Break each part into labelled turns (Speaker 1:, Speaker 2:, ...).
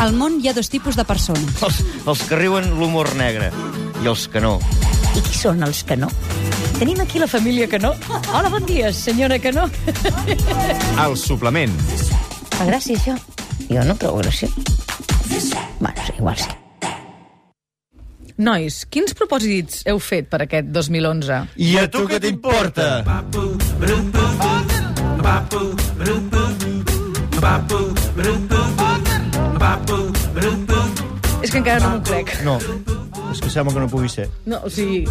Speaker 1: Al món hi ha dos tipus de persones.
Speaker 2: Els, els que riuen l'humor negre i els que no.
Speaker 3: I qui són els que no? Tenim aquí la família Canó. Hola, bon dia, senyora Canó.
Speaker 4: El suplement.
Speaker 3: Fa gràcia, això? Jo no trobo gràcia. Bueno, sí, igual sí.
Speaker 5: Nois, quins propòsits heu fet per aquest 2011?
Speaker 2: I a tu què t'importa?
Speaker 5: És que encara no m'ho crec.
Speaker 2: No, és que sembla que no pugui ser.
Speaker 5: No, o sigui,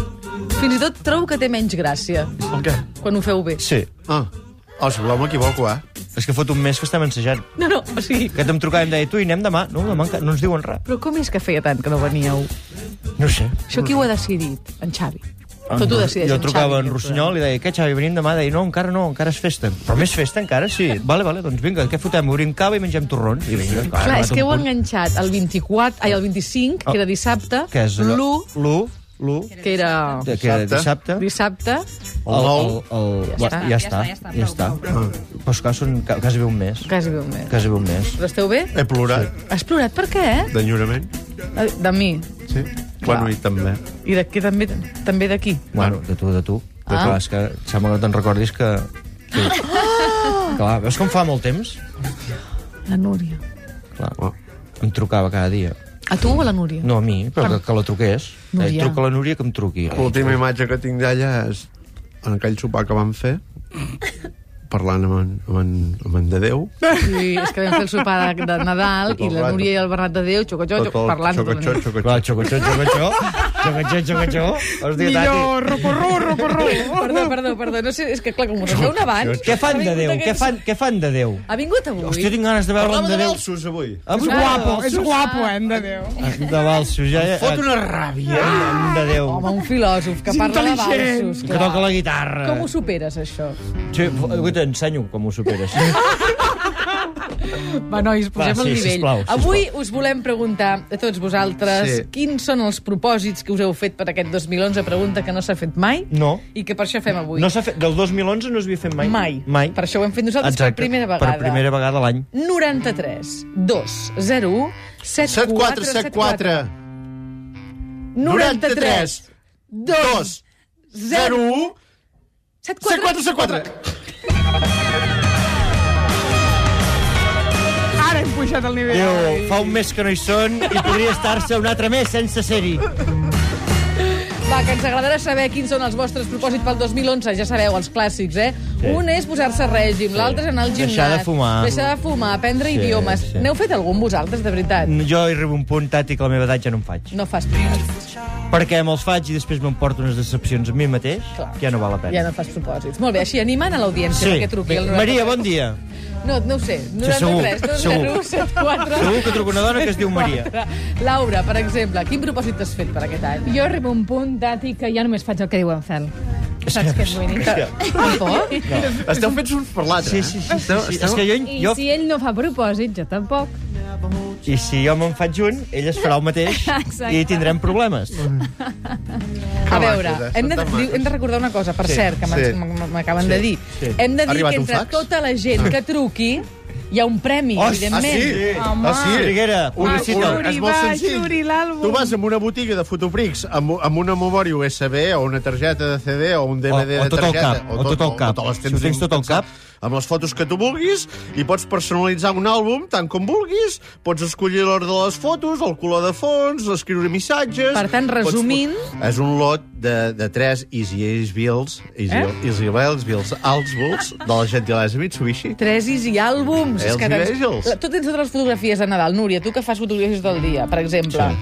Speaker 5: fins i tot trobo que té menys gràcia
Speaker 4: El què?
Speaker 5: quan ho feu bé.
Speaker 2: Sí,
Speaker 4: Ah, oh, si voleu m'equivoco, eh?
Speaker 2: és que fot un mes que estem ensejant.
Speaker 5: No, no, o sigui,
Speaker 2: Que em trucava i em deia, tu hi anem demà? No, demà encara no ens diuen res.
Speaker 5: però com és que feia tant que no veníeu?
Speaker 2: No ho sé.
Speaker 5: Això qui ho ha decidit? En Xavi. Tot ho decideix
Speaker 2: Ah, jo
Speaker 5: en
Speaker 2: trucava
Speaker 5: Xavi.
Speaker 2: en Rossinyol i deia, què, Xavi, venim demà? Deia, no, encara no, encara és festa. Però més festa encara, sí. Vale, vale, doncs vinga, què fotem? Obrim cava i mengem torrons. I vinga,
Speaker 5: Clar,
Speaker 2: ha
Speaker 5: és que heu
Speaker 2: arribat un punt.
Speaker 5: enganxat el 24, ai, el 25, que era dissabte,
Speaker 2: Què és allò?
Speaker 5: l'1,
Speaker 2: L'1,
Speaker 5: que era
Speaker 2: l'1, que era dissabte.
Speaker 5: dissabte,
Speaker 2: El, el, el,
Speaker 5: Ja
Speaker 2: el,
Speaker 5: està.
Speaker 2: ja, està, ja està. Ja està. Però és que són ca- quasi bé un mes.
Speaker 5: quasi bé un mes.
Speaker 2: Quasi bé un mes.
Speaker 5: Però esteu bé?
Speaker 4: He plorat sí.
Speaker 5: Has plorat per què, eh?
Speaker 4: d'enyorament.
Speaker 5: De mi.
Speaker 4: Sí. Bueno, i també.
Speaker 5: I d'aquí també, també d'aquí.
Speaker 2: Bueno, de tu, de tu. Ah. Clar, és que sembla que no te'n recordis que... que... Clar, veus com fa molt temps?
Speaker 5: La Núria.
Speaker 2: Clar, em trucava cada dia.
Speaker 5: A tu o a la Núria?
Speaker 2: No a mi, però que, que la truqués. Deia,
Speaker 5: Núria.
Speaker 2: truca a la Núria que em truqui.
Speaker 4: L'última imatge que tinc d'ella és en aquell sopar que vam fer, parlant amb en, amb en, amb en de Déu.
Speaker 5: Sí, és que vam fer el sopar de, de Nadal i la Núria i el Bernat de Déu, xoco, xoco, xoco parlant. tota la
Speaker 4: xocotxó,
Speaker 5: nit.
Speaker 4: xocotxó.
Speaker 2: Va, xocotxó, xocotxó, xocotxó, xocotxó. Hòstia, tati.
Speaker 5: Perdó, perdó, perdó. No sé, és que clar, com ho reveuen abans...
Speaker 2: Què fan
Speaker 5: ha
Speaker 2: de
Speaker 5: vingut
Speaker 2: Déu?
Speaker 5: aquest-
Speaker 2: Què fan, què fan de Déu?
Speaker 5: Ha vingut avui.
Speaker 2: Hòstia, tinc ganes de veure en de Déu. Ah,
Speaker 4: Sus, avui.
Speaker 2: És guapo, és
Speaker 6: guapo, eh, de Déu.
Speaker 2: Ah, De Balsos, ja... Fot una ràbia. De Déu.
Speaker 5: Home, un filòsof que parla de
Speaker 6: intel·ligent.
Speaker 5: balsos.
Speaker 2: Que toca la guitarra.
Speaker 5: Com ho superes, això?
Speaker 2: Sí, avui t'ensenyo com ho superes.
Speaker 6: Va, nois,
Speaker 2: Va,
Speaker 6: posem
Speaker 2: sí,
Speaker 6: el nivell.
Speaker 2: sisplau, sisplau.
Speaker 5: Avui us volem preguntar a tots vosaltres
Speaker 4: Sí.
Speaker 5: sí. quins són els propòsits que us heu fet per aquest 2011, pregunta que no s'ha fet mai
Speaker 2: No.
Speaker 5: i que per això fem avui.
Speaker 2: No s'ha fet... Del 2011 no s'havia fet mai.
Speaker 5: Mai.
Speaker 2: Mai.
Speaker 5: Per això ho hem fet nosaltres
Speaker 2: Exacte.
Speaker 5: per primera vegada.
Speaker 2: Per primera vegada l'any.
Speaker 5: 93 2 0 7 4 7 4 93
Speaker 4: 2,
Speaker 5: 0
Speaker 4: 1,
Speaker 5: 7 4
Speaker 6: Ara hem pujat el nivell.
Speaker 2: Diu, fa un mes que no hi són i podria estar-se un altre mes sense ser-hi.
Speaker 5: Va, que ens agradarà saber quins són els vostres propòsits pel 2011. Ja sabeu, els clàssics, eh? Sí. Un és posar-se a règim, l'altre és anar al gimnàs.
Speaker 2: Deixar de fumar.
Speaker 5: Deixar de fumar, aprendre
Speaker 2: Sí,
Speaker 5: sí, idiomes.
Speaker 2: sí. Mm.
Speaker 5: Sí. N'heu fet algun vosaltres, de veritat?
Speaker 2: Jo hi arribo a un punt, Tati, que la meva edat ja no em faig.
Speaker 5: No fas propòsits.
Speaker 2: Perquè me'ls faig i després m'emporto unes decepcions a mi mateix,
Speaker 5: Clar.
Speaker 2: que ja no val la pena.
Speaker 5: Ja no fas propòsits. Molt bé, així animant a l'audiència
Speaker 2: Sí.
Speaker 5: perquè truqui al 90.
Speaker 2: Maria, bon dia.
Speaker 5: No, no ho sé.
Speaker 2: segur,
Speaker 5: 93, 2,
Speaker 2: segur.
Speaker 5: 0, 7, 4...
Speaker 2: Segur que truca una dona que es diu Maria.
Speaker 5: Laura, per exemple, quin propòsit t'has fet per aquest any?
Speaker 7: Jo arribo a un punt, Dati, que ja només faig el que diu en Fel. Saps què et vull dir?
Speaker 5: Tampoc?
Speaker 4: Esteu fets uns per l'altre. eh?
Speaker 2: Sí, sí, sí. sí, sí. És que jo,
Speaker 7: I
Speaker 2: jo,
Speaker 7: si ell no fa propòsit, jo tampoc.
Speaker 2: I si jo me'n faig un, ell es farà el mateix
Speaker 7: Exacte.
Speaker 2: i tindrem problemes.
Speaker 5: A veure,
Speaker 4: macos, eh?
Speaker 5: hem de,
Speaker 4: Són tan
Speaker 5: diu- hem de recordar una cosa, per sí, cert, que
Speaker 4: sí.
Speaker 5: sí, m'acaben sí, de dir.
Speaker 2: sí.
Speaker 5: Sí. Hem de
Speaker 4: Ha
Speaker 5: dir
Speaker 4: arribat
Speaker 5: que
Speaker 4: un
Speaker 5: entre
Speaker 4: fax?
Speaker 5: tota la gent que truqui hi ha un premi,
Speaker 2: Oh,
Speaker 4: Ah,
Speaker 5: evidentment.
Speaker 4: sí? Ah, sí?
Speaker 2: Riguera, publicita.
Speaker 4: Una, és molt senzill. Tu vas a una botiga de fotoprics amb, amb una memòria USB o una targeta de CD o un DVD
Speaker 2: O- o
Speaker 4: de
Speaker 2: tot el
Speaker 4: targeta.
Speaker 2: cap, o tot el cap.
Speaker 4: te les
Speaker 2: Si ho tens tot al cap.
Speaker 4: Amb les fotos que tu vulguis i pots personalitzar un àlbum tant com vulguis. Pots escollir l'ordre de les fotos, el color de fons, escriure missatges...
Speaker 5: Per tant,
Speaker 4: Pots-
Speaker 5: resumint-
Speaker 4: És un lot de, de tres Easy Ace Bills, Easy, eh? Easy Bells, Bills, Alts Bills, de la gentilesa Mitsubishi.
Speaker 5: Tresis i àlbums.
Speaker 4: Els
Speaker 5: És que tens-
Speaker 4: veges.
Speaker 5: La- Tu tens totes les fotografies de Nadal. Núria, tu que fas fotografies del dia, per exemple, sí.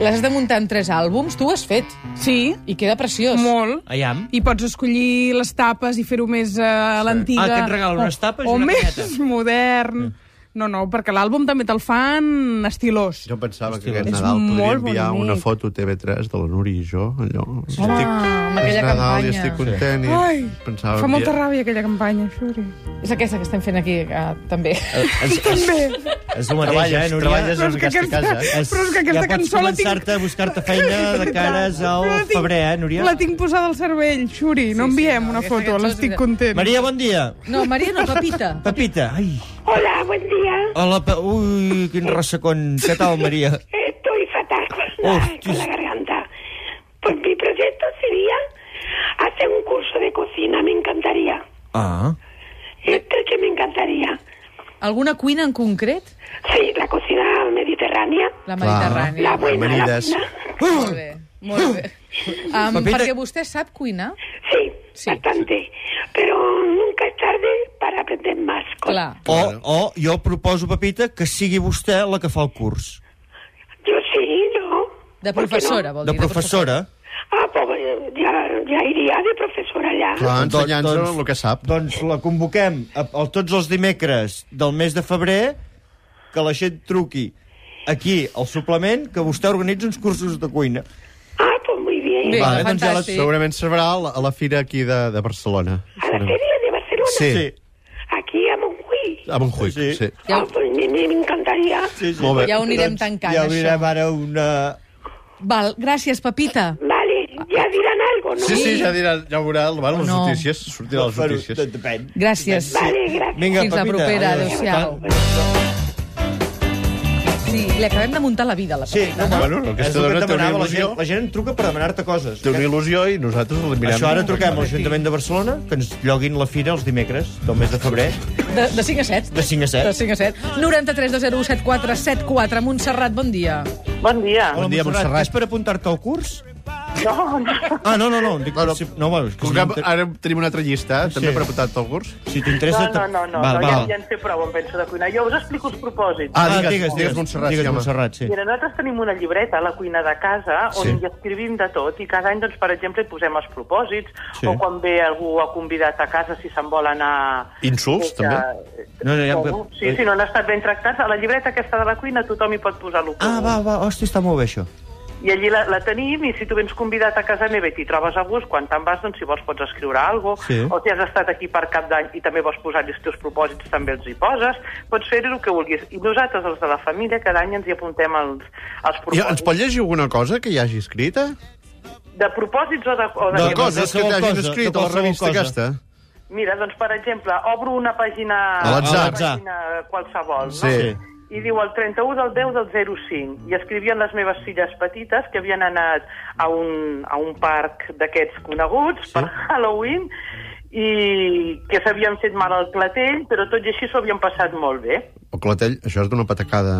Speaker 5: les has de muntar en tres àlbums, tu ho has fet.
Speaker 6: Sí,
Speaker 5: I queda preciós.
Speaker 6: molt.
Speaker 2: Aviam.
Speaker 6: I pots escollir les tapes i fer-ho més eh, a l'antiga.
Speaker 2: Ah, que et regalen unes tapes i
Speaker 6: o,
Speaker 2: una
Speaker 6: o més
Speaker 2: caneta.
Speaker 6: modern. No, no, perquè l'àlbum també te'l fan estilós.
Speaker 4: Jo pensava que
Speaker 2: Hòstia,
Speaker 4: aquest
Speaker 6: és
Speaker 4: Nadal podria
Speaker 6: molt
Speaker 4: enviar
Speaker 6: bonic.
Speaker 4: una foto TV3 de la Núria i jo, allò. Home,
Speaker 5: amb aquella
Speaker 4: Nadal
Speaker 5: campanya.
Speaker 4: i estic content. I
Speaker 6: Ai,
Speaker 4: pensava
Speaker 6: fa molta
Speaker 4: enviar-
Speaker 6: ràbia aquella campanya, Xuri.
Speaker 5: És aquesta que estem fent aquí, eh, també.
Speaker 2: És, és,
Speaker 6: Bé,
Speaker 2: és el mateix, eh, Núria?
Speaker 4: Treballes
Speaker 6: Però
Speaker 4: en
Speaker 6: és que
Speaker 4: aquesta
Speaker 6: aquesta-
Speaker 4: casa, eh?
Speaker 2: És,
Speaker 6: Però és que
Speaker 2: ja
Speaker 6: aquesta
Speaker 2: pots
Speaker 6: cançó la tinc-
Speaker 2: començar-te a buscar-te feina de cares al
Speaker 6: Però la tinc-
Speaker 2: febrer, eh, Núria?
Speaker 6: la tinc posada al cervell, Xuri. No
Speaker 5: sí,
Speaker 6: enviem
Speaker 5: no,
Speaker 6: una
Speaker 5: aquesta
Speaker 6: foto,
Speaker 5: cançó és
Speaker 6: l'estic
Speaker 5: vera-
Speaker 6: content.
Speaker 2: Maria, bon dia.
Speaker 5: No, Maria no, Pepita.
Speaker 2: Pepita, ai,
Speaker 8: Hola, buen día.
Speaker 2: Hola, pe... ui, quin ressecón. Què tal, Oh, María?
Speaker 8: Estoy fatal con la,
Speaker 2: Hostis.
Speaker 8: con la garganta. Pues mi proyecto sería hacer un curso de cocina, me encantaría.
Speaker 2: Ah,
Speaker 8: Esto es que me encantaría.
Speaker 5: Alguna cuina en concret?
Speaker 8: Sí, la cocina mediterránea,
Speaker 5: La mediterrània.
Speaker 8: la buena, la
Speaker 4: Amanides.
Speaker 8: buena.
Speaker 5: Molt bé, molt bé. Um,
Speaker 2: Papita-
Speaker 5: perquè vostè sap cuinar?
Speaker 8: Sí,
Speaker 5: Sí.
Speaker 8: bastante. Pero nunca es tarde para aprender más. cosas.
Speaker 5: Clar.
Speaker 2: o, o Oh, jo proposo, Pepita, que sigui vostè la que fa el curs.
Speaker 8: Yo sí, yo. ¿Por qué
Speaker 5: De
Speaker 8: no?
Speaker 5: professora, vol
Speaker 2: De
Speaker 5: dir.
Speaker 2: professora.
Speaker 8: Ah, pues ya, ya iría de profesora ya.
Speaker 4: Clar, ensenyant-se
Speaker 2: Doncs-
Speaker 4: el que sap.
Speaker 2: Doncs la convoquem a, a tots els dimecres del mes de febrer que la gent truqui aquí al suplement que vostè organitza uns cursos de cuina.
Speaker 8: Ah, pues muy bien.
Speaker 5: Bé,
Speaker 4: Vale, doncs ja la,
Speaker 5: fantàstic.
Speaker 4: segurament serà a la, a la fira aquí de, de Barcelona.
Speaker 8: A la feria de Barcelona,
Speaker 4: Sí, sí.
Speaker 8: aquí a Monjuí.
Speaker 4: a Montjuïc, sí.
Speaker 2: Sí.
Speaker 4: sí.
Speaker 5: Ja,
Speaker 8: Ah, pues me, me encantaria.
Speaker 2: Sí, sí.
Speaker 4: Molt bé.
Speaker 5: ja ho anirem
Speaker 2: Doncs
Speaker 5: tancant,
Speaker 2: ja ho
Speaker 5: això.
Speaker 2: direm ara una...
Speaker 5: Val, gràcies, Pepita.
Speaker 8: Vale, ya dirán algo, ¿no?
Speaker 4: Sí, sí, ja, dirà, ja ho veurà, van les
Speaker 5: No.
Speaker 4: notícies, sortiran les
Speaker 2: Bueno,
Speaker 4: notícies.
Speaker 2: de- Depèn.
Speaker 5: Gràcies.
Speaker 8: Vale, gracias.
Speaker 2: Vinga,
Speaker 5: Fins la
Speaker 2: Pepita,
Speaker 5: propera,
Speaker 2: adéu.
Speaker 5: adéu-siau. Sí, li acabem de muntar la vida, a la
Speaker 2: Sí, no, no,
Speaker 4: Bueno,
Speaker 2: no,
Speaker 4: aquesta
Speaker 2: és el que
Speaker 4: dona
Speaker 2: et
Speaker 4: té una
Speaker 2: demanava la
Speaker 4: il·lusió.
Speaker 2: gent. La gent em truca per demanar-te coses.
Speaker 4: Té una
Speaker 2: Que-
Speaker 4: il·lusió i nosaltres la mirem.
Speaker 2: Això ara truquem a l'Ajuntament de Barcelona que ens lloguin la fira els dimecres del mes de febrer.
Speaker 5: De, de 5 a 7.
Speaker 2: De 5 a 7.
Speaker 5: De 5 a 7. 93 7474. Montserrat, bon dia.
Speaker 9: Bon dia.
Speaker 4: Bon dia, Montserrat.
Speaker 2: És per apuntar-te al curs?
Speaker 9: No, no.
Speaker 2: Ah, no, no, no. Dic,
Speaker 4: Bueno,
Speaker 2: si, no, bueno, és que si
Speaker 4: Truquem,
Speaker 2: t'inter-
Speaker 4: ara tenim una altra llista, eh? també
Speaker 2: Sí.
Speaker 4: per apuntar tot el curs.
Speaker 2: si t'interessa...
Speaker 9: No, no, no, no,
Speaker 2: Val,
Speaker 9: no ja,
Speaker 2: val.
Speaker 9: ja en sé prou, em penso de cuinar. Jo us explico els propòsits.
Speaker 4: Ah,
Speaker 2: Ah,
Speaker 4: digues, digues, digues Montserrat.
Speaker 2: Digues
Speaker 4: sí, home.
Speaker 2: Montserrat, sí.
Speaker 9: Mira, nosaltres tenim una llibreta, la cuina de casa, on
Speaker 4: Sí.
Speaker 9: hi escrivim de tot i cada any, doncs, per exemple, hi posem els propòsits
Speaker 2: Sí.
Speaker 9: o quan ve algú a convidat a casa si se'n vol anar...
Speaker 4: Insults,
Speaker 9: Eh,
Speaker 4: també?
Speaker 2: No, no, ja-
Speaker 9: Com? Sí, sí, no han estat ben tractats. A la llibreta aquesta de la cuina tothom hi pot posar el que
Speaker 2: Ah, va, va, hòstia, està molt bé, això.
Speaker 9: I allí la, la tenim i si tu vens convidat a casa meva i t'hi trobes a gust, quan te'n vas, doncs si vols pots escriure alguna cosa,
Speaker 2: Sí.
Speaker 9: o si has estat aquí per cap d'any i també vols posar-hi els teus propòsits, també els hi poses, pots fer el que vulguis. I nosaltres, els de la família, cada any ens hi apuntem els, els
Speaker 4: I ens
Speaker 9: propòsits.
Speaker 4: pot llegir alguna cosa que hi hagi escrita?
Speaker 9: De propòsits o de... O de,
Speaker 4: De
Speaker 9: què vols?
Speaker 4: coses que
Speaker 2: qualsevol
Speaker 4: t'hagin
Speaker 2: cosa,
Speaker 4: escrit
Speaker 2: de
Speaker 4: a la
Speaker 2: qualsevol
Speaker 4: revista
Speaker 2: cosa.
Speaker 4: aquesta?
Speaker 9: Mira, doncs, per exemple, obro una pàgina...
Speaker 4: A l'atzar.
Speaker 9: Una pàgina qualsevol, no?
Speaker 4: Sí.
Speaker 9: I diu el 31 del 10 del 05. I escrivien les meves filles petites que havien anat a un, a un parc d'aquests coneguts sí. per Halloween i que s'havien fet mal al clatell, però tot i així s'ho havien passat molt bé.
Speaker 4: O Clatell, això és d'una patacada.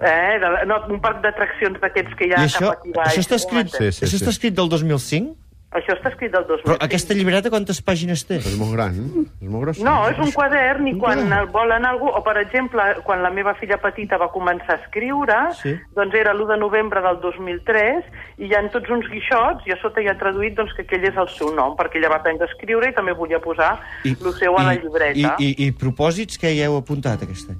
Speaker 9: Eh? De, la- no, un parc d'atraccions d'aquests que hi
Speaker 2: I
Speaker 9: ha
Speaker 2: això,
Speaker 9: cap aquí baix.
Speaker 2: això està escrit,
Speaker 9: Moment.
Speaker 4: Sí, sí,
Speaker 2: això
Speaker 4: sí.
Speaker 2: està escrit del 2005?
Speaker 9: Això està escrit del 2000.
Speaker 2: Però aquesta llibreta quantes pàgines té?
Speaker 4: És molt gran, és molt gros.
Speaker 9: No,
Speaker 2: Doncs
Speaker 9: és un quadern i quan el volen algú, o per exemple, quan la meva filla petita va començar a escriure,
Speaker 2: Sí.
Speaker 9: sí. doncs era l'1 de novembre del 2003 i hi ha tots uns guixots i a sota hi ha traduït doncs, que aquell és el seu nom, perquè ella va aprendre a escriure i també volia posar
Speaker 2: I-
Speaker 9: el seu a la
Speaker 2: i-
Speaker 9: llibreta.
Speaker 2: I, i, i propòsits que hi heu apuntat aquest any?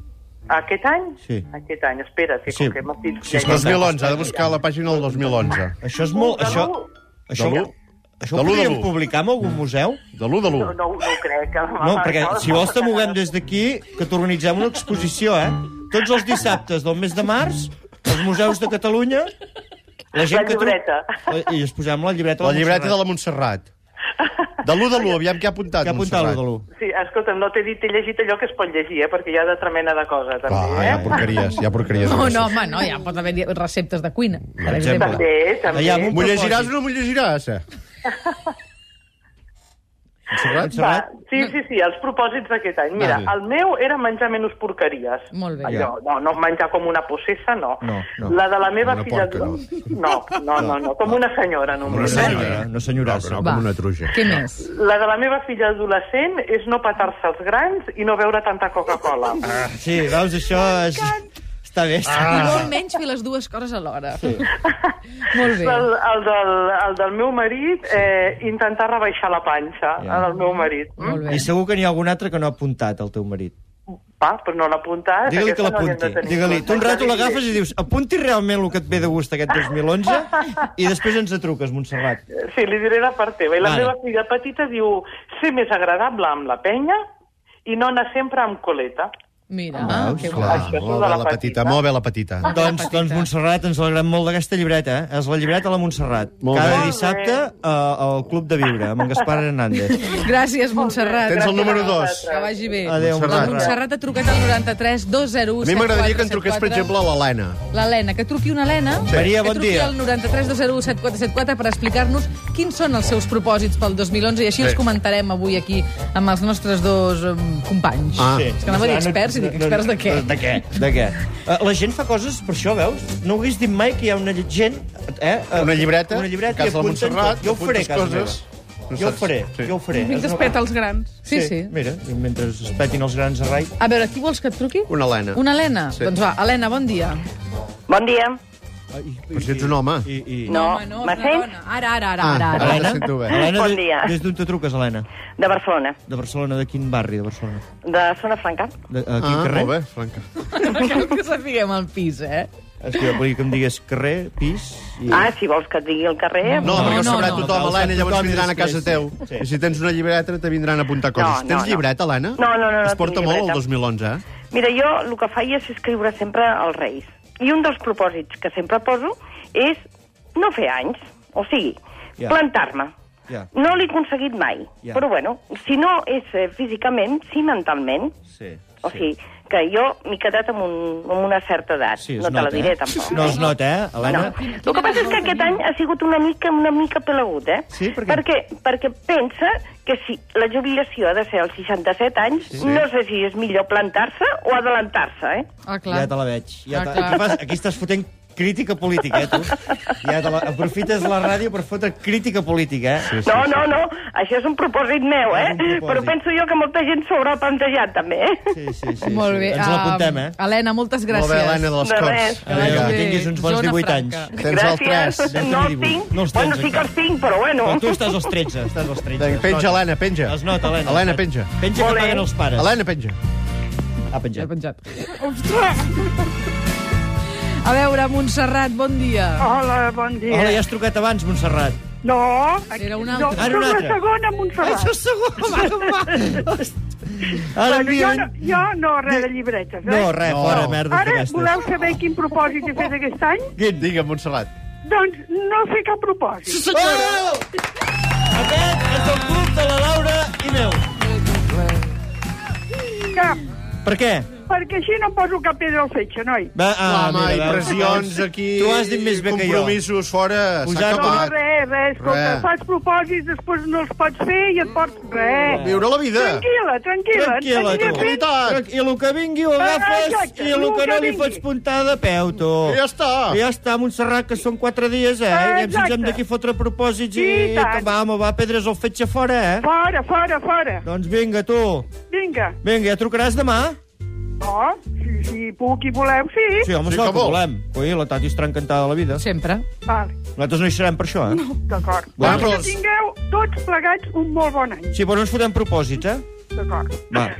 Speaker 9: Aquest any?
Speaker 2: Sí.
Speaker 9: Aquest any, espera, que
Speaker 2: Sí.
Speaker 9: com que m'ha dit...
Speaker 2: Sí,
Speaker 9: Sí,
Speaker 2: és que els mil-
Speaker 4: 2011, ha de buscar la pàgina del 2011.
Speaker 2: Això és molt...
Speaker 9: De
Speaker 2: Això,
Speaker 9: l'u.
Speaker 2: això,
Speaker 4: De l'u.
Speaker 2: això
Speaker 4: De
Speaker 2: ho
Speaker 4: l'u, de
Speaker 2: podríem
Speaker 4: l'u.
Speaker 2: publicar en algun museu?
Speaker 4: De l'1 de
Speaker 9: no,
Speaker 4: l'1.
Speaker 9: no, no ho crec. que la
Speaker 2: No,
Speaker 9: mama-
Speaker 2: perquè si vols te movem des d'aquí, que t'organitzem una exposició, eh? Tots els dissabtes del mes de març, als museus de Catalunya... La, gent
Speaker 9: La
Speaker 2: que tru-
Speaker 9: llibreta.
Speaker 2: La- I es posem la llibreta
Speaker 4: La llibreta de la Montserrat. De l'1 de l'1, aviam què ha apuntat,
Speaker 2: Que apuntar lo de l'1.
Speaker 9: Sí, escolta'm, no t'he dit, he llegit allò que es pot llegir, eh? perquè hi ha de tremenda de cosa, també.
Speaker 4: Clar,
Speaker 9: eh?
Speaker 4: hi ha porqueries, hi ha porqueries.
Speaker 5: No, Oh,
Speaker 4: grosses.
Speaker 5: no, home, no, ja pot haver receptes de cuina. Per exemple.
Speaker 9: També, també.
Speaker 2: Allà, amb un
Speaker 4: M'ho llegiràs
Speaker 2: propòsit.
Speaker 4: o no m'ho llegiràs? eh? Montserrat?
Speaker 9: Va,
Speaker 2: Montserrat?
Speaker 9: sí, sí, sí, els propòsits d'aquest any. Mira,
Speaker 2: Ah,
Speaker 4: Vale.
Speaker 9: el meu era menjar menys porqueries.
Speaker 5: Molt bé.
Speaker 9: Allò, no, no menjar com una possessa, no.
Speaker 2: No, no.
Speaker 9: La de la meva
Speaker 4: Una
Speaker 9: filla...
Speaker 4: porca, no.
Speaker 9: No, no, no, no, com una senyora
Speaker 4: Com una
Speaker 9: només. eh?
Speaker 4: senyora.
Speaker 2: No, senyorassa.
Speaker 4: No,
Speaker 5: Va.
Speaker 4: però com una truja.
Speaker 5: Què més?
Speaker 9: La de la meva filla adolescent és no petar-se els grans i no beure tanta Coca-Cola.
Speaker 2: Sí, veus, això
Speaker 9: Oh,
Speaker 2: és... Està bé.
Speaker 5: I
Speaker 2: Ah.
Speaker 5: molt menys fer les dues coses alhora. Sí. Molt bé.
Speaker 9: El, el, del, el del meu marit, eh, intentar rebaixar la panxa,
Speaker 2: Ja.
Speaker 9: el del meu marit.
Speaker 5: Molt bé.
Speaker 2: I segur que n'hi ha algun altre que no ha apuntat, el teu marit.
Speaker 9: Va, però no l'ha apuntat.
Speaker 2: Digue-li que
Speaker 9: aquesta no l'hem de
Speaker 2: l'apunti.
Speaker 9: tenir en
Speaker 2: Digue-li,
Speaker 9: compte.
Speaker 2: tu un rato
Speaker 9: Ja li
Speaker 2: l'agafes i dius apunti realment el que et ve de gust aquest 2011 i després ens truques, Montserrat.
Speaker 9: Sí, li diré la part teva. I la
Speaker 2: Vale.
Speaker 9: meva filla petita diu ser més agradable amb la penya i no anar sempre amb coleta.
Speaker 5: Mira, ah,
Speaker 2: Veus?
Speaker 5: que
Speaker 2: Clar.
Speaker 5: guai.
Speaker 10: Això és
Speaker 4: molt
Speaker 10: de
Speaker 4: bé
Speaker 10: la
Speaker 4: la petita,
Speaker 10: petita.
Speaker 4: molt bé la petita.
Speaker 2: Doncs, doncs Montserrat, ens alegrem molt d'aquesta llibreta. eh? És la llibreta a la Montserrat.
Speaker 4: Molt
Speaker 2: Cada
Speaker 4: bé.
Speaker 2: dissabte eh, al Club de Viure, amb en Gaspar Hernández.
Speaker 5: Gràcies, Montserrat.
Speaker 4: Tens el número
Speaker 10: Gràcies a
Speaker 4: dos.
Speaker 10: vosaltres.
Speaker 5: Que vagi bé.
Speaker 2: Adéu,
Speaker 5: La
Speaker 4: Montserrat.
Speaker 5: Montserrat ha trucat al 93 201
Speaker 4: A mi m'agradaria que en truqués, per exemple, a l'Helena.
Speaker 5: L'Helena, que truqui una Helena.
Speaker 2: Sí. Maria, bon
Speaker 5: que truqui
Speaker 2: dia.
Speaker 5: al 93 201 7474 per explicar-nos quins són els seus propòsits pel 2011 i així els comentarem avui aquí amb els nostres dos um, companys.
Speaker 4: Ah.
Speaker 5: És que anava a dir experts i dic experts de què?
Speaker 2: De què? De què? Eh, La gent fa coses per això, veus? No ho hagués dit mai que hi ha una gent... Eh? eh,
Speaker 4: Una llibreta,
Speaker 2: una llibreta
Speaker 4: cas
Speaker 2: i
Speaker 4: de la
Speaker 2: apunten
Speaker 4: Montserrat,
Speaker 2: tot. Jo ho faré,
Speaker 4: apuntes
Speaker 2: casa
Speaker 4: coses.
Speaker 2: meva.
Speaker 4: No
Speaker 2: Jo ho
Speaker 4: saps.
Speaker 2: faré,
Speaker 4: Sí.
Speaker 2: jo ho faré.
Speaker 6: Fins
Speaker 2: És
Speaker 6: es
Speaker 2: una-
Speaker 6: peta els grans.
Speaker 5: Sí, sí.
Speaker 2: Mira, mentre es petin els grans a rai...
Speaker 5: A veure, qui vols que et truqui?
Speaker 4: Una Helena.
Speaker 5: Una Helena?
Speaker 4: Sí.
Speaker 5: Doncs va, Helena, bon dia.
Speaker 9: Bon dia.
Speaker 4: Però si ets un home.
Speaker 2: I, i...
Speaker 9: No,
Speaker 5: Home, no,
Speaker 9: me
Speaker 5: una
Speaker 9: sent?
Speaker 5: dona. Ara, ara, ara,
Speaker 4: Ah,
Speaker 5: ara. ara.
Speaker 4: ara.
Speaker 2: Helena?
Speaker 4: te sento bé.
Speaker 2: Helena,
Speaker 9: Bon
Speaker 2: de-
Speaker 9: dia.
Speaker 2: Des d'on te truques, Helena?
Speaker 9: De Barcelona,
Speaker 2: De Barcelona, de quin barri de Barcelona?
Speaker 9: de Zona Franca.
Speaker 2: De, a quin
Speaker 4: Ah,
Speaker 2: carrer?
Speaker 4: molt bé, Franca.
Speaker 5: Cal que sapiguem el pis, eh?
Speaker 2: És que jo volia que em digués carrer, pis... I...
Speaker 9: Ah, si vols que et digui el carrer...
Speaker 4: No, perquè ho
Speaker 5: no,
Speaker 4: sabrà
Speaker 5: no.
Speaker 4: tothom,
Speaker 2: Ho sap
Speaker 4: Helena, llavors
Speaker 2: tothom i
Speaker 4: vindran a casa
Speaker 2: després,
Speaker 4: teu.
Speaker 2: sí.
Speaker 4: I si tens una llibreta, te vindran a apuntar coses.
Speaker 9: No, no,
Speaker 4: Tens
Speaker 9: no.
Speaker 4: llibreta, Helena?
Speaker 9: No, no, no, no
Speaker 4: Es porta
Speaker 9: tinc
Speaker 4: molt el
Speaker 9: llibreta.
Speaker 4: 2011, eh?
Speaker 9: Mira, jo el que faig és escriure sempre als Reis. I un dels propòsits que sempre poso és no fer anys, o sigui,
Speaker 2: Ja.
Speaker 9: plantar-me.
Speaker 2: Ja.
Speaker 9: No l'he aconseguit mai,
Speaker 2: Ja.
Speaker 9: però bueno, si no és eh, físicament, sí mentalment.
Speaker 2: Sí,
Speaker 9: O sigui, que jo m'he quedat amb, un, amb una certa edat.
Speaker 2: Sí, es
Speaker 9: no te la
Speaker 2: nota,
Speaker 9: diré,
Speaker 2: eh?
Speaker 9: tampoc.
Speaker 2: No es nota, eh, Helena?
Speaker 9: No. El que passa és que aquest any ha sigut una mica, una mica pelagut, eh?
Speaker 2: Sí, per què?
Speaker 9: perquè, perquè pensa que si la jubilació ha de ser als 67 anys, sí. no sé si és millor plantar-se o adelantar-se, eh?
Speaker 5: Ah, clar.
Speaker 2: Ja te la veig. Ja
Speaker 5: Ah,
Speaker 2: te...
Speaker 5: clar.
Speaker 2: aquí, fas, aquí estàs fotent crítica política, eh, tu? Ja te la... Aprofites la ràdio per fotre crítica política, eh? Sí,
Speaker 9: No, no, no, això és un propòsit meu,
Speaker 2: És
Speaker 9: eh?
Speaker 2: un propòsit.
Speaker 9: Però penso jo que molta gent s'ho haurà plantejat, també, eh?
Speaker 2: Sí, sí, sí.
Speaker 5: Molt bé.
Speaker 2: Sí. Ens l'apuntem, eh?
Speaker 5: Ah, Helena, moltes gràcies.
Speaker 4: Molt bé, Helena, de les
Speaker 9: De
Speaker 4: Corts.
Speaker 9: res.
Speaker 2: Adéu,
Speaker 5: vagi
Speaker 2: que
Speaker 5: bé.
Speaker 2: tinguis uns bons
Speaker 5: ah, Zona
Speaker 2: 18
Speaker 5: franca.
Speaker 2: anys.
Speaker 4: Tens el 3.
Speaker 9: Gràcies. No els tinc.
Speaker 2: No els tens,
Speaker 9: bueno, sí que els tinc, però bueno.
Speaker 2: Però tu estàs als 13, estàs als 13.
Speaker 4: Vinga,
Speaker 2: Es
Speaker 4: Penja,
Speaker 2: nota.
Speaker 4: Helena, penja.
Speaker 2: Es nota, Helena.
Speaker 4: Helena, penja.
Speaker 2: Penja
Speaker 9: Molt
Speaker 2: que
Speaker 9: bé.
Speaker 2: paguen els pares.
Speaker 4: Helena, penja.
Speaker 2: Ha
Speaker 5: Ja he
Speaker 2: penjat.
Speaker 5: penjat. Ostres! A veure, Montserrat, bon dia.
Speaker 10: Hola, bon dia.
Speaker 2: Hola, ja has trucat abans, Montserrat.
Speaker 10: No,
Speaker 5: Era una
Speaker 10: no,
Speaker 5: altra.
Speaker 2: Ara
Speaker 10: sóc
Speaker 2: una
Speaker 10: la
Speaker 2: altra.
Speaker 10: segona,
Speaker 2: Ai,
Speaker 10: Montserrat.
Speaker 2: això és segur, va, va. Ara
Speaker 10: Bueno, jo,
Speaker 2: envien...
Speaker 10: no, jo no, res de llibretes, eh?
Speaker 2: No, res,
Speaker 4: No.
Speaker 2: fora, merda,
Speaker 10: Ara,
Speaker 2: d'aquestes.
Speaker 10: voleu saber quin propòsit he fet aquest any?
Speaker 4: Digue'm, Montserrat.
Speaker 10: Doncs no fer cap propòsit.
Speaker 2: Oh! Aquest és el club de la Laura i meu.
Speaker 10: Cap,
Speaker 2: Per què?
Speaker 10: perquè així no em poso cap pedra al fetge, noi.
Speaker 2: Va,
Speaker 4: Ah, Home, i
Speaker 2: veus?
Speaker 4: pressions aquí,
Speaker 2: Tu has dit més bé que jo.
Speaker 4: compromisos fora...
Speaker 2: Posar-
Speaker 4: S'ha
Speaker 10: No,
Speaker 2: Caponat.
Speaker 4: acabat.
Speaker 10: res, res, escolta,
Speaker 4: Res.
Speaker 10: fas propòsits, després no els pots fer i et pots... Res.
Speaker 4: Viure la vida.
Speaker 10: Tranquil·la, tranquil·la.
Speaker 2: Tranquil·la,
Speaker 10: Aniré
Speaker 2: tu.
Speaker 10: fent-
Speaker 4: Veritat.
Speaker 2: I el que vingui ho agafes
Speaker 10: Ah, Exacte,
Speaker 2: i el
Speaker 10: el
Speaker 2: que no
Speaker 10: que
Speaker 2: li
Speaker 10: vingui.
Speaker 2: fots puntar de peu, tu.
Speaker 4: I ja està.
Speaker 2: I ja està, Montserrat, que són quatre dies, eh?
Speaker 10: Ah,
Speaker 2: I ens
Speaker 10: Exacte.
Speaker 2: hem d'aquí fotre propòsits i...
Speaker 10: I tant.
Speaker 2: que va, home, va, pedres al fetge fora, eh?
Speaker 10: Fora, fora, fora.
Speaker 2: Doncs vinga, tu.
Speaker 10: Vinga.
Speaker 2: Vinga, ja trucaràs demà?
Speaker 10: Oh, si, si puc i voleu, sí.
Speaker 2: Sí, home,
Speaker 4: Sí
Speaker 2: sí,
Speaker 4: que
Speaker 2: que,
Speaker 4: vol.
Speaker 2: volem. Ui, la Tati estarà encantada de la vida.
Speaker 5: Sempre.
Speaker 10: Vale,
Speaker 2: Nosaltres no hi serem per això, eh?
Speaker 10: d'acord.
Speaker 6: Ah,
Speaker 4: Va,
Speaker 10: Doncs
Speaker 4: però
Speaker 10: que
Speaker 4: els-
Speaker 10: tingueu tots plegats un molt bon any.
Speaker 2: Sí, però no ens fotem propòsits, eh?
Speaker 10: D'acord.
Speaker 2: Va.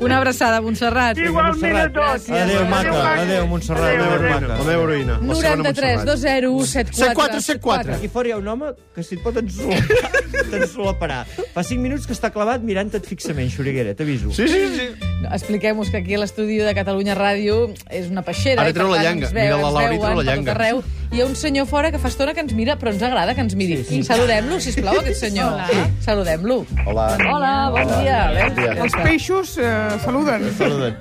Speaker 5: Una abraçada, Montserrat.
Speaker 10: Igualment a
Speaker 2: Montserrat.
Speaker 10: tots.
Speaker 2: Adéu, maca. Adéu, Montserrat.
Speaker 10: Adéu,
Speaker 4: La meva
Speaker 2: Adéu,
Speaker 10: adéu.
Speaker 4: heroïna,
Speaker 2: maca.
Speaker 4: la meva heroïna. la segona
Speaker 5: 93
Speaker 4: Montserrat.
Speaker 5: 201
Speaker 4: 74
Speaker 5: 74
Speaker 2: Aquí fora hi ha un home que si et pot ensolaparar, t'ensolaparà. Fa 5 minuts que està clavat mirant-et fixament, Xuriguera, t'aviso.
Speaker 4: Sí, sí, sí.
Speaker 5: Expliquem-vos que aquí a l'estudi de Catalunya Ràdio és una peixera.
Speaker 4: Ara
Speaker 5: i per
Speaker 4: treu la
Speaker 5: tant
Speaker 4: llanga.
Speaker 5: ens veuen,
Speaker 4: Mira la
Speaker 5: ens
Speaker 4: Laura i treu
Speaker 5: veuen
Speaker 4: la
Speaker 5: per tot
Speaker 4: llanga.
Speaker 5: Arreu. Hi ha un senyor fora que fa estona que ens mira, però ens agrada que ens miri. Sí, sí. Saludem-lo, sisplau, aquest senyor. Hola. Saludem-lo.
Speaker 4: Hola.
Speaker 5: Hola, bon dia. Veus?
Speaker 4: dia.
Speaker 5: Ja
Speaker 6: Els
Speaker 5: està.
Speaker 6: peixos eh, saluden.
Speaker 2: Saluda't.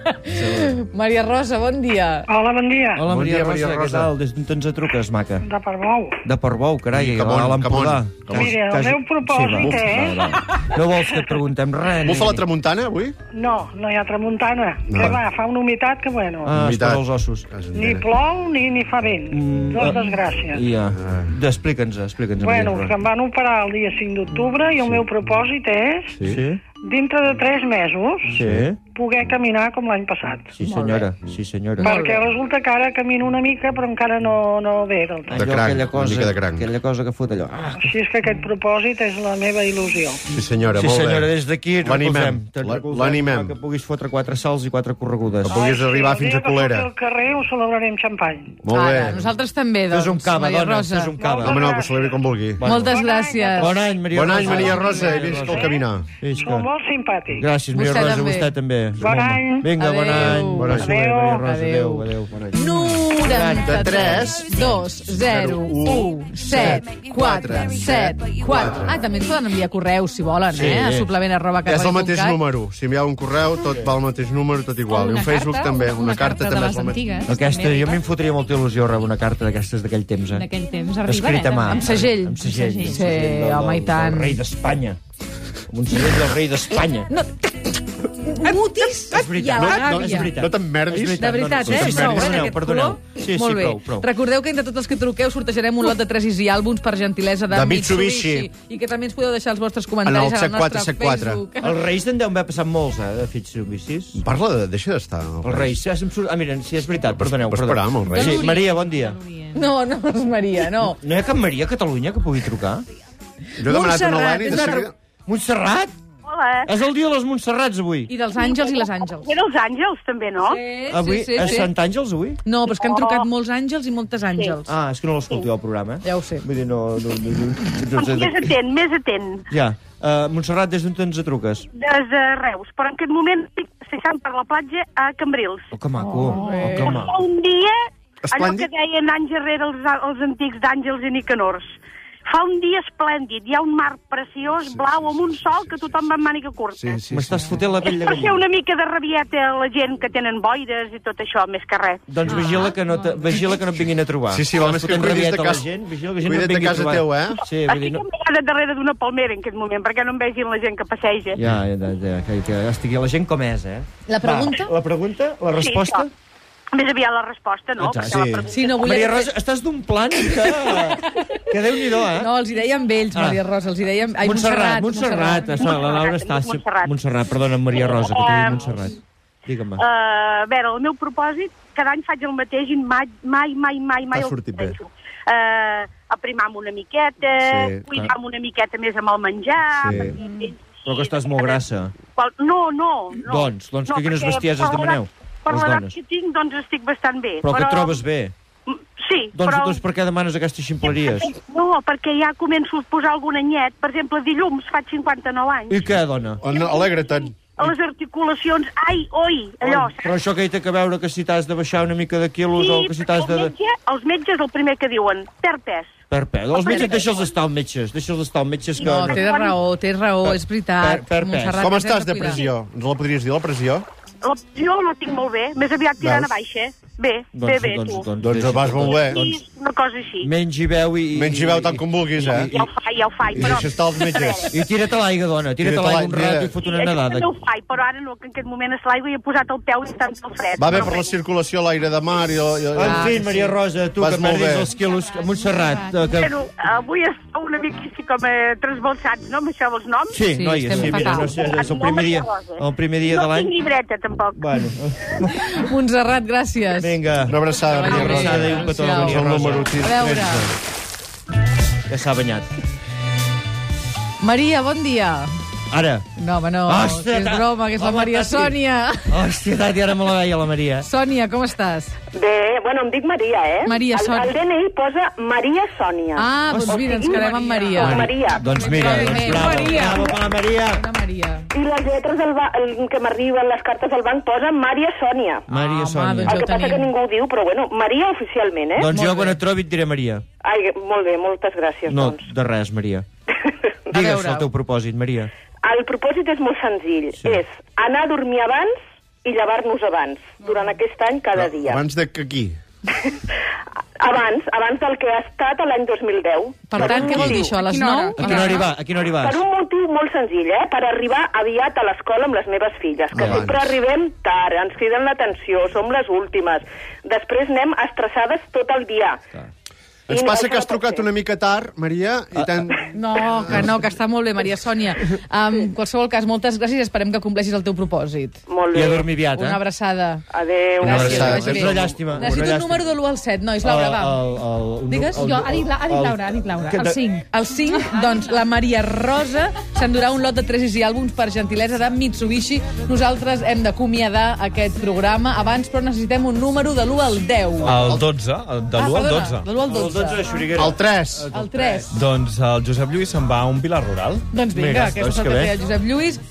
Speaker 5: Maria Rosa, bon dia.
Speaker 10: Hola, bon dia.
Speaker 2: Hola,
Speaker 4: Bon
Speaker 2: Maria,
Speaker 4: dia,
Speaker 2: Rosa,
Speaker 4: Maria
Speaker 2: què
Speaker 4: Rosa.
Speaker 2: tal? Des d'on ens truques, maca?
Speaker 10: De per bou.
Speaker 2: De Portbou, carai,
Speaker 4: Sí,
Speaker 2: a
Speaker 4: Camon,
Speaker 2: l'Empordà.
Speaker 4: Camon, Camon.
Speaker 10: Mira, el
Speaker 2: Quasi-
Speaker 10: meu propòsit,
Speaker 2: va,
Speaker 10: eh?
Speaker 2: va, va. No vols que et preguntem res?
Speaker 4: Bufa la tramuntana, avui?
Speaker 10: No, no hi ha tramuntana.
Speaker 4: No.
Speaker 10: Que va, fa una humitat que, bueno,
Speaker 2: Ah, es
Speaker 4: Humitat.
Speaker 2: posa els ossos.
Speaker 10: ni plou ni, ni fa vent.
Speaker 2: Mm,
Speaker 10: Dos
Speaker 2: eh,
Speaker 10: desgràcies.
Speaker 2: Ja.
Speaker 4: Ah.
Speaker 2: Explica'ns, explica'ns.
Speaker 10: Bueno,
Speaker 2: Maria
Speaker 10: que em
Speaker 2: Rosa.
Speaker 10: van operar el dia 5 d'octubre i el meu propòsit és,
Speaker 2: Sí?
Speaker 10: dintre de 3 mesos,
Speaker 2: Sí?
Speaker 10: poder caminar com l'any passat.
Speaker 2: Sí, senyora. Sí, senyora.
Speaker 10: Perquè resulta que ara camino una mica, però encara no, no ve del tot.
Speaker 2: Allò,
Speaker 4: cranc,
Speaker 2: aquella
Speaker 4: una
Speaker 2: cosa,
Speaker 4: mica de cranc.
Speaker 2: Aquella cosa que fot allò. Ah,
Speaker 10: Així és que aquest propòsit és la meva il·lusió.
Speaker 4: Sí, senyora,
Speaker 2: sí,
Speaker 4: molt
Speaker 2: senyora,
Speaker 4: bé.
Speaker 2: des d'aquí et
Speaker 4: L'animem.
Speaker 2: recolzem. Te'n
Speaker 4: La-
Speaker 2: recolzem,
Speaker 4: l'animem.
Speaker 2: Que puguis fotre quatre salts i quatre corregudes.
Speaker 4: Que puguis
Speaker 10: Ai,
Speaker 4: arribar
Speaker 10: sí,
Speaker 4: fins
Speaker 10: el dia
Speaker 4: a
Speaker 10: que surti
Speaker 4: Colera.
Speaker 10: al carrer ho celebraré amb xampany.
Speaker 4: Molt
Speaker 5: Ara,
Speaker 4: bé.
Speaker 5: Nosaltres també, doncs,
Speaker 2: Fes un cava,
Speaker 5: Maria
Speaker 2: dona,
Speaker 5: Rosa.
Speaker 2: fes un cava.
Speaker 4: Home, no, que ho celebri com vulgui.
Speaker 5: Moltes gràcies.
Speaker 2: Bon any, Maria
Speaker 4: Bon any,
Speaker 2: Rosa.
Speaker 4: Maria Rosa, i visca el caminar.
Speaker 2: Visca.
Speaker 10: Som molt simpàtic.
Speaker 2: Gràcies, Maria
Speaker 5: Vostè
Speaker 2: Rosa,
Speaker 5: també.
Speaker 2: vostè també.
Speaker 10: Bon
Speaker 2: Home.
Speaker 10: any.
Speaker 2: Vinga, bon
Speaker 5: Adéu.
Speaker 2: any. Bon any,
Speaker 10: Adéu.
Speaker 2: Maria Rosa. Adéu,
Speaker 5: Adéu.
Speaker 2: adéu. Bon any.
Speaker 5: 93 2 0 1 7 4 7 4 Ah, també ens poden enviar correus, si volen,
Speaker 2: Sí.
Speaker 5: eh? A suplement arroba
Speaker 4: És el mateix
Speaker 5: carrer.cat.
Speaker 4: número. Si envieu un correu, tot va al mateix número, tot igual. I un Facebook
Speaker 7: carta,
Speaker 4: també.
Speaker 7: Una,
Speaker 4: Una carta
Speaker 7: de
Speaker 4: també és
Speaker 7: les
Speaker 4: el mateix.
Speaker 7: antigues.
Speaker 2: Aquesta,
Speaker 7: també
Speaker 2: jo
Speaker 7: arriba.
Speaker 2: me'n fotria molta il·lusió rebre una carta d'aquestes d'aquell temps, eh?
Speaker 7: D'aquell temps arriba,
Speaker 2: Escrita a mà.
Speaker 5: Amb segell.
Speaker 2: Amb segell.
Speaker 7: Amb
Speaker 2: Amb
Speaker 7: segell.
Speaker 5: Sí,
Speaker 2: segell del-
Speaker 5: home, i
Speaker 2: del-
Speaker 5: tant.
Speaker 2: Del rei d'Espanya. Amb un segell del rei d'Espanya.
Speaker 5: No, mutis
Speaker 2: Eh, És
Speaker 5: i a
Speaker 2: veritat.
Speaker 5: la
Speaker 2: No, no, és
Speaker 5: ràbia.
Speaker 2: veritat.
Speaker 4: No t'emmerdis.
Speaker 2: És
Speaker 5: De veritat,
Speaker 2: no, no,
Speaker 5: eh?
Speaker 2: no,
Speaker 5: Sou, eh?
Speaker 2: Perdoneu,
Speaker 5: d'aquest
Speaker 2: perdoneu.
Speaker 5: color?
Speaker 2: Sí, sí,
Speaker 5: Molt bé.
Speaker 2: prou, prou.
Speaker 5: Recordeu que entre tots els que truqueu sortejarem un lot de 3 i àlbums per gentilesa de,
Speaker 4: De
Speaker 5: Mitsubishi.
Speaker 4: Mitsubishi.
Speaker 5: I que també ens podeu deixar els vostres
Speaker 4: En el
Speaker 5: comentaris al nostre
Speaker 4: 7474.
Speaker 5: Facebook.
Speaker 2: Els reis d'en deuen haver passat molts, eh, de fets sumicis.
Speaker 4: Parla de... Deixa d'estar. el
Speaker 2: Els reis, ja se'm surt... Ah, mira, sí, és veritat,
Speaker 4: Vas-
Speaker 2: perdoneu.
Speaker 4: vas
Speaker 2: perdoneu.
Speaker 4: parar amb els reis.
Speaker 2: Sí, Maria, bon dia.
Speaker 5: No, no és Maria, no.
Speaker 2: No hi ha cap Maria a Catalunya que pugui trucar?
Speaker 4: Jo he demanat una
Speaker 5: Montserrat,
Speaker 4: lana i
Speaker 5: és
Speaker 4: de
Speaker 5: una
Speaker 4: seguida...
Speaker 2: Montserrat?
Speaker 9: Hola.
Speaker 2: És el dia de les Montserrats, avui.
Speaker 5: I dels àngels i les àngels.
Speaker 9: Era els àngels, també, no?
Speaker 2: Avui,
Speaker 5: sí, sí,
Speaker 2: a
Speaker 5: sí.
Speaker 2: Sant Àngels, avui?
Speaker 5: No, però és que han trucat molts àngels i moltes àngels.
Speaker 2: Ah, és que no l'escolteu, el programa.
Speaker 5: Ja ho sé.
Speaker 2: Vull dir, no... no, no, no, no, sé
Speaker 9: Més
Speaker 2: de...
Speaker 9: atent, més atent.
Speaker 2: Ja. Uh, Montserrat, des d'on ens truques?
Speaker 9: Des de Reus. Però en aquest moment estic seixant per la platja a Cambrils.
Speaker 2: Oh, que maco. Oh, oh que
Speaker 9: Fa
Speaker 2: maco.
Speaker 9: un dia, allò
Speaker 4: Esplèndid.
Speaker 9: que deien anys darrere els, els antics d'Àngels i Nicanors, fa un dia esplèndid, hi ha un mar preciós, sí, blau, amb un sol, que tothom va amb màniga curta.
Speaker 4: Sí, sí, sí.
Speaker 2: M'estàs fotent la
Speaker 9: És
Speaker 2: pell de
Speaker 9: per ser
Speaker 2: gallina.
Speaker 9: una mica de rabieta a la gent que tenen boires i tot això, més que res.
Speaker 2: Doncs vigila que, no te, vigila que no et vinguin a trobar.
Speaker 4: Sí, sí, val més que
Speaker 2: Fotent
Speaker 4: cuidis de
Speaker 2: rabieta a la
Speaker 4: casa-
Speaker 2: gent, Vigila que la gent no
Speaker 4: cuida't
Speaker 2: et
Speaker 4: de
Speaker 2: vingui a
Speaker 4: casa
Speaker 2: trobar.
Speaker 4: teu, eh?
Speaker 2: Sí, vull dir,
Speaker 9: Estic
Speaker 2: no...
Speaker 9: amagada darrere d'una palmera en aquest moment, perquè no em vegin la gent que passeja.
Speaker 2: Ja, ja, ja, ja que, que estigui la gent com és, eh?
Speaker 5: La pregunta?
Speaker 2: Va, la pregunta? La resposta?
Speaker 9: això. Més aviat la resposta, no?
Speaker 2: Exacte.
Speaker 9: Perquè la
Speaker 4: Sí.
Speaker 9: pregunta-
Speaker 5: Sí, no volia...
Speaker 2: Maria Rosa, estàs d'un plan que... que Déu-n'hi-do, eh?
Speaker 5: No, els hi dèiem vells,
Speaker 2: Ah.
Speaker 5: Maria Rosa, els hi dèiem... Ai,
Speaker 2: Montserrat, Montserrat. Montserrat. Montserrat. La Laura està...
Speaker 9: Montserrat.
Speaker 2: Montserrat, perdona, Maria Rosa, que t'he
Speaker 9: Eh,
Speaker 2: dit Montserrat. Digue'm. va.
Speaker 9: Uh, a veure, el meu propòsit, cada any faig el mateix i mai, mai, mai, mai... mai
Speaker 4: T'ha sortit bé.
Speaker 9: Uh, aprimar-me una miqueta,
Speaker 4: Sí,
Speaker 9: sí,
Speaker 4: clar.
Speaker 9: cuidar-me una miqueta més amb el menjar...
Speaker 4: Sí.
Speaker 9: perquè-
Speaker 2: Mm. Però que estàs molt grassa.
Speaker 9: Qual- No, no, no.
Speaker 2: Doncs, doncs, que quines
Speaker 9: perquè
Speaker 2: bestieses
Speaker 9: per l'edat-
Speaker 2: demaneu,
Speaker 9: Per
Speaker 2: les
Speaker 9: l'edat
Speaker 2: dones.
Speaker 9: que tinc, doncs estic bastant bé.
Speaker 2: Però que et trobes bé.
Speaker 9: Mm, Sí,
Speaker 2: Doncs,
Speaker 9: però...
Speaker 2: doncs per què demanes aquestes ximpleries?
Speaker 9: No, perquè ja començo a posar algun anyet. Per exemple, dilluns faig 59 anys.
Speaker 2: I què, dona?
Speaker 4: On- Alegra-te'n.
Speaker 9: A les articulacions, ai, oi, allò, saps?
Speaker 2: Però això que hi té que veure que si t'has de baixar una mica de quilos o que si
Speaker 9: perquè
Speaker 2: t'has de...
Speaker 9: el metge, els metges el primer que diuen, perd pes.
Speaker 2: Per pes. Els metges, deixa'ls estar els metges. Deixa'ls estar els metges que...
Speaker 5: No, té raó, té raó, és veritat.
Speaker 2: Per- per pes.
Speaker 5: Montserrat,
Speaker 4: Com
Speaker 5: ens hem
Speaker 4: estàs de
Speaker 5: cuidar.
Speaker 4: pressió? Ens la podries dir, la pressió?
Speaker 9: La, jo la tinc molt bé, més aviat tirant
Speaker 4: Veus?
Speaker 9: a baixa. Bé, bé, bé, tu.
Speaker 4: Doncs
Speaker 2: deixa-
Speaker 4: vas molt bé.
Speaker 9: Sí, una cosa així.
Speaker 2: Menys i veu i...
Speaker 4: Menys hi veu tant com vulguis, eh?
Speaker 9: Ja ho faig, ja ho faig,
Speaker 4: I
Speaker 9: però...
Speaker 4: deixa estar els metges.
Speaker 2: I tira't a l'aigua, dona. Tira't a l'aigua un rato i fot una
Speaker 9: Això
Speaker 2: nedada.
Speaker 9: també ho faig, però ara no, que en aquest moment és l'aigua i he posat el peu i tant el fred.
Speaker 4: Va bé
Speaker 9: Però
Speaker 4: per la
Speaker 9: bé.
Speaker 4: circulació, l'aire de mar i... El, i el...
Speaker 5: Ah,
Speaker 2: En fi, Maria Rosa, tu
Speaker 4: Vas
Speaker 2: que
Speaker 4: molt
Speaker 2: perdis
Speaker 4: bé.
Speaker 2: els quilos... a Montserrat, eh, que...
Speaker 9: Però avui està una mica així com eh, transbalsats, no?, amb això dels noms.
Speaker 2: Sí,
Speaker 5: Sí,
Speaker 2: noies,
Speaker 5: estem
Speaker 2: sí, mira,
Speaker 5: fatal.
Speaker 2: no sé, és el primer dia, el primer dia de l'any.
Speaker 9: No tinc llibreta, tampoc.
Speaker 2: Bueno,
Speaker 5: Montserrat, gràcies.
Speaker 2: vinga,
Speaker 4: Una abraçada,
Speaker 2: una
Speaker 4: Maria Rosa.
Speaker 2: abraçada i un petó a la
Speaker 5: Adéu.
Speaker 2: Maria
Speaker 4: És el número
Speaker 2: Rosa,
Speaker 5: A
Speaker 4: 13.
Speaker 5: veure.
Speaker 2: que s'ha banyat.
Speaker 5: Maria, bon dia.
Speaker 2: Ara,
Speaker 5: No, home, no,
Speaker 2: Ostres,
Speaker 5: que és
Speaker 2: ta-
Speaker 5: broma, que és la
Speaker 2: Ah, home,
Speaker 5: Maria
Speaker 2: Tati.
Speaker 5: Sònia.
Speaker 2: hòstia, Tati, ara me la veia la Maria.
Speaker 5: Sònia, com estàs?
Speaker 9: Bé, bueno, em dic Maria, eh?
Speaker 5: Maria
Speaker 9: el,
Speaker 5: Sònia.
Speaker 9: El DNI posa Maria Sònia.
Speaker 5: Ah, doncs mira, ens quedem amb Maria.
Speaker 9: Bueno. Maria.
Speaker 2: Doncs mira, doncs
Speaker 5: Aplaudiment.
Speaker 2: bravo,
Speaker 5: Maria.
Speaker 2: bravo per la Maria.
Speaker 5: Una Maria.
Speaker 9: I les lletres del ba... el- que m'arriben, les cartes del banc, posen Maria Sònia.
Speaker 2: Maria
Speaker 5: home,
Speaker 2: Sònia.
Speaker 5: doncs-
Speaker 9: El
Speaker 5: ho
Speaker 9: que passa
Speaker 5: tenim.
Speaker 9: que ningú ho diu, però bueno, Maria oficialment, eh?
Speaker 2: Doncs jo quan et trobi et diré Maria.
Speaker 9: Ai, molt bé, moltes gràcies,
Speaker 2: No,
Speaker 9: doncs.
Speaker 2: de res, Maria.
Speaker 5: A
Speaker 2: Digues
Speaker 5: veure.
Speaker 2: el teu propòsit, Maria.
Speaker 9: El propòsit és molt senzill.
Speaker 2: Sí.
Speaker 9: És anar a dormir abans i llevar-nos abans, durant
Speaker 5: Mm.
Speaker 9: aquest any, cada dia.
Speaker 4: Abans de que aquí.
Speaker 9: Abans, abans del que ha estat a l'any 2010.
Speaker 5: Per tant, què vol dir això? A les
Speaker 6: Quina hora?
Speaker 5: 9?
Speaker 2: A quina hora hi va? A quina hora hi
Speaker 9: Per
Speaker 2: vas?
Speaker 9: un motiu molt senzill, eh? Per arribar aviat a l'escola amb les meves filles, que
Speaker 2: Doncs.
Speaker 4: Abans.
Speaker 9: sempre arribem tard, ens criden l'atenció, som les últimes. Després anem estressades tot el dia.
Speaker 4: Ens
Speaker 9: I
Speaker 4: passa
Speaker 9: això
Speaker 4: que has
Speaker 9: no pot
Speaker 4: trucat
Speaker 9: ser.
Speaker 4: una mica tard, Maria, i tant...
Speaker 2: Ah,
Speaker 5: No, que no, que està molt bé, Maria Sònia. En qualsevol cas, moltes gràcies, esperem que compleixis el teu propòsit.
Speaker 9: Molt
Speaker 2: I
Speaker 9: bé.
Speaker 2: a dormir aviat,
Speaker 5: Una
Speaker 2: eh?
Speaker 5: abraçada.
Speaker 9: Adéu.
Speaker 4: Una
Speaker 5: Gràcies,
Speaker 4: abraçada.
Speaker 5: que vagi bé.
Speaker 2: És una llàstima. una
Speaker 5: Necessito un
Speaker 2: llàstima. Oh,
Speaker 5: número de l'1 al 7, nois. Laura, va.
Speaker 2: El, el, el,
Speaker 5: Digues?
Speaker 7: Jo, ha dit, la, ha dit Laura, ha dit Laura, el 5.
Speaker 5: El 5, doncs, la Maria Rosa s'endurà un lot de 3 i àlbums per gentilesa de Mitsubishi. Nosaltres hem d'acomiadar aquest programa abans, però necessitem un número de l'1 al 10.
Speaker 11: El 12, el- de l'1 al
Speaker 5: perdona,
Speaker 11: 12.
Speaker 5: De l'1 al
Speaker 2: El 12 de
Speaker 5: 12.
Speaker 2: Xuriguera.
Speaker 4: El 3.
Speaker 5: El 3.
Speaker 2: Doncs
Speaker 11: Doncs el Josep Lluís se'n va a un Pilar Rural.
Speaker 5: Doncs vinga,
Speaker 2: Vinga,
Speaker 5: aquest és
Speaker 2: doncs
Speaker 5: el
Speaker 2: que
Speaker 5: que
Speaker 2: bé.
Speaker 5: feia Josep Lluís.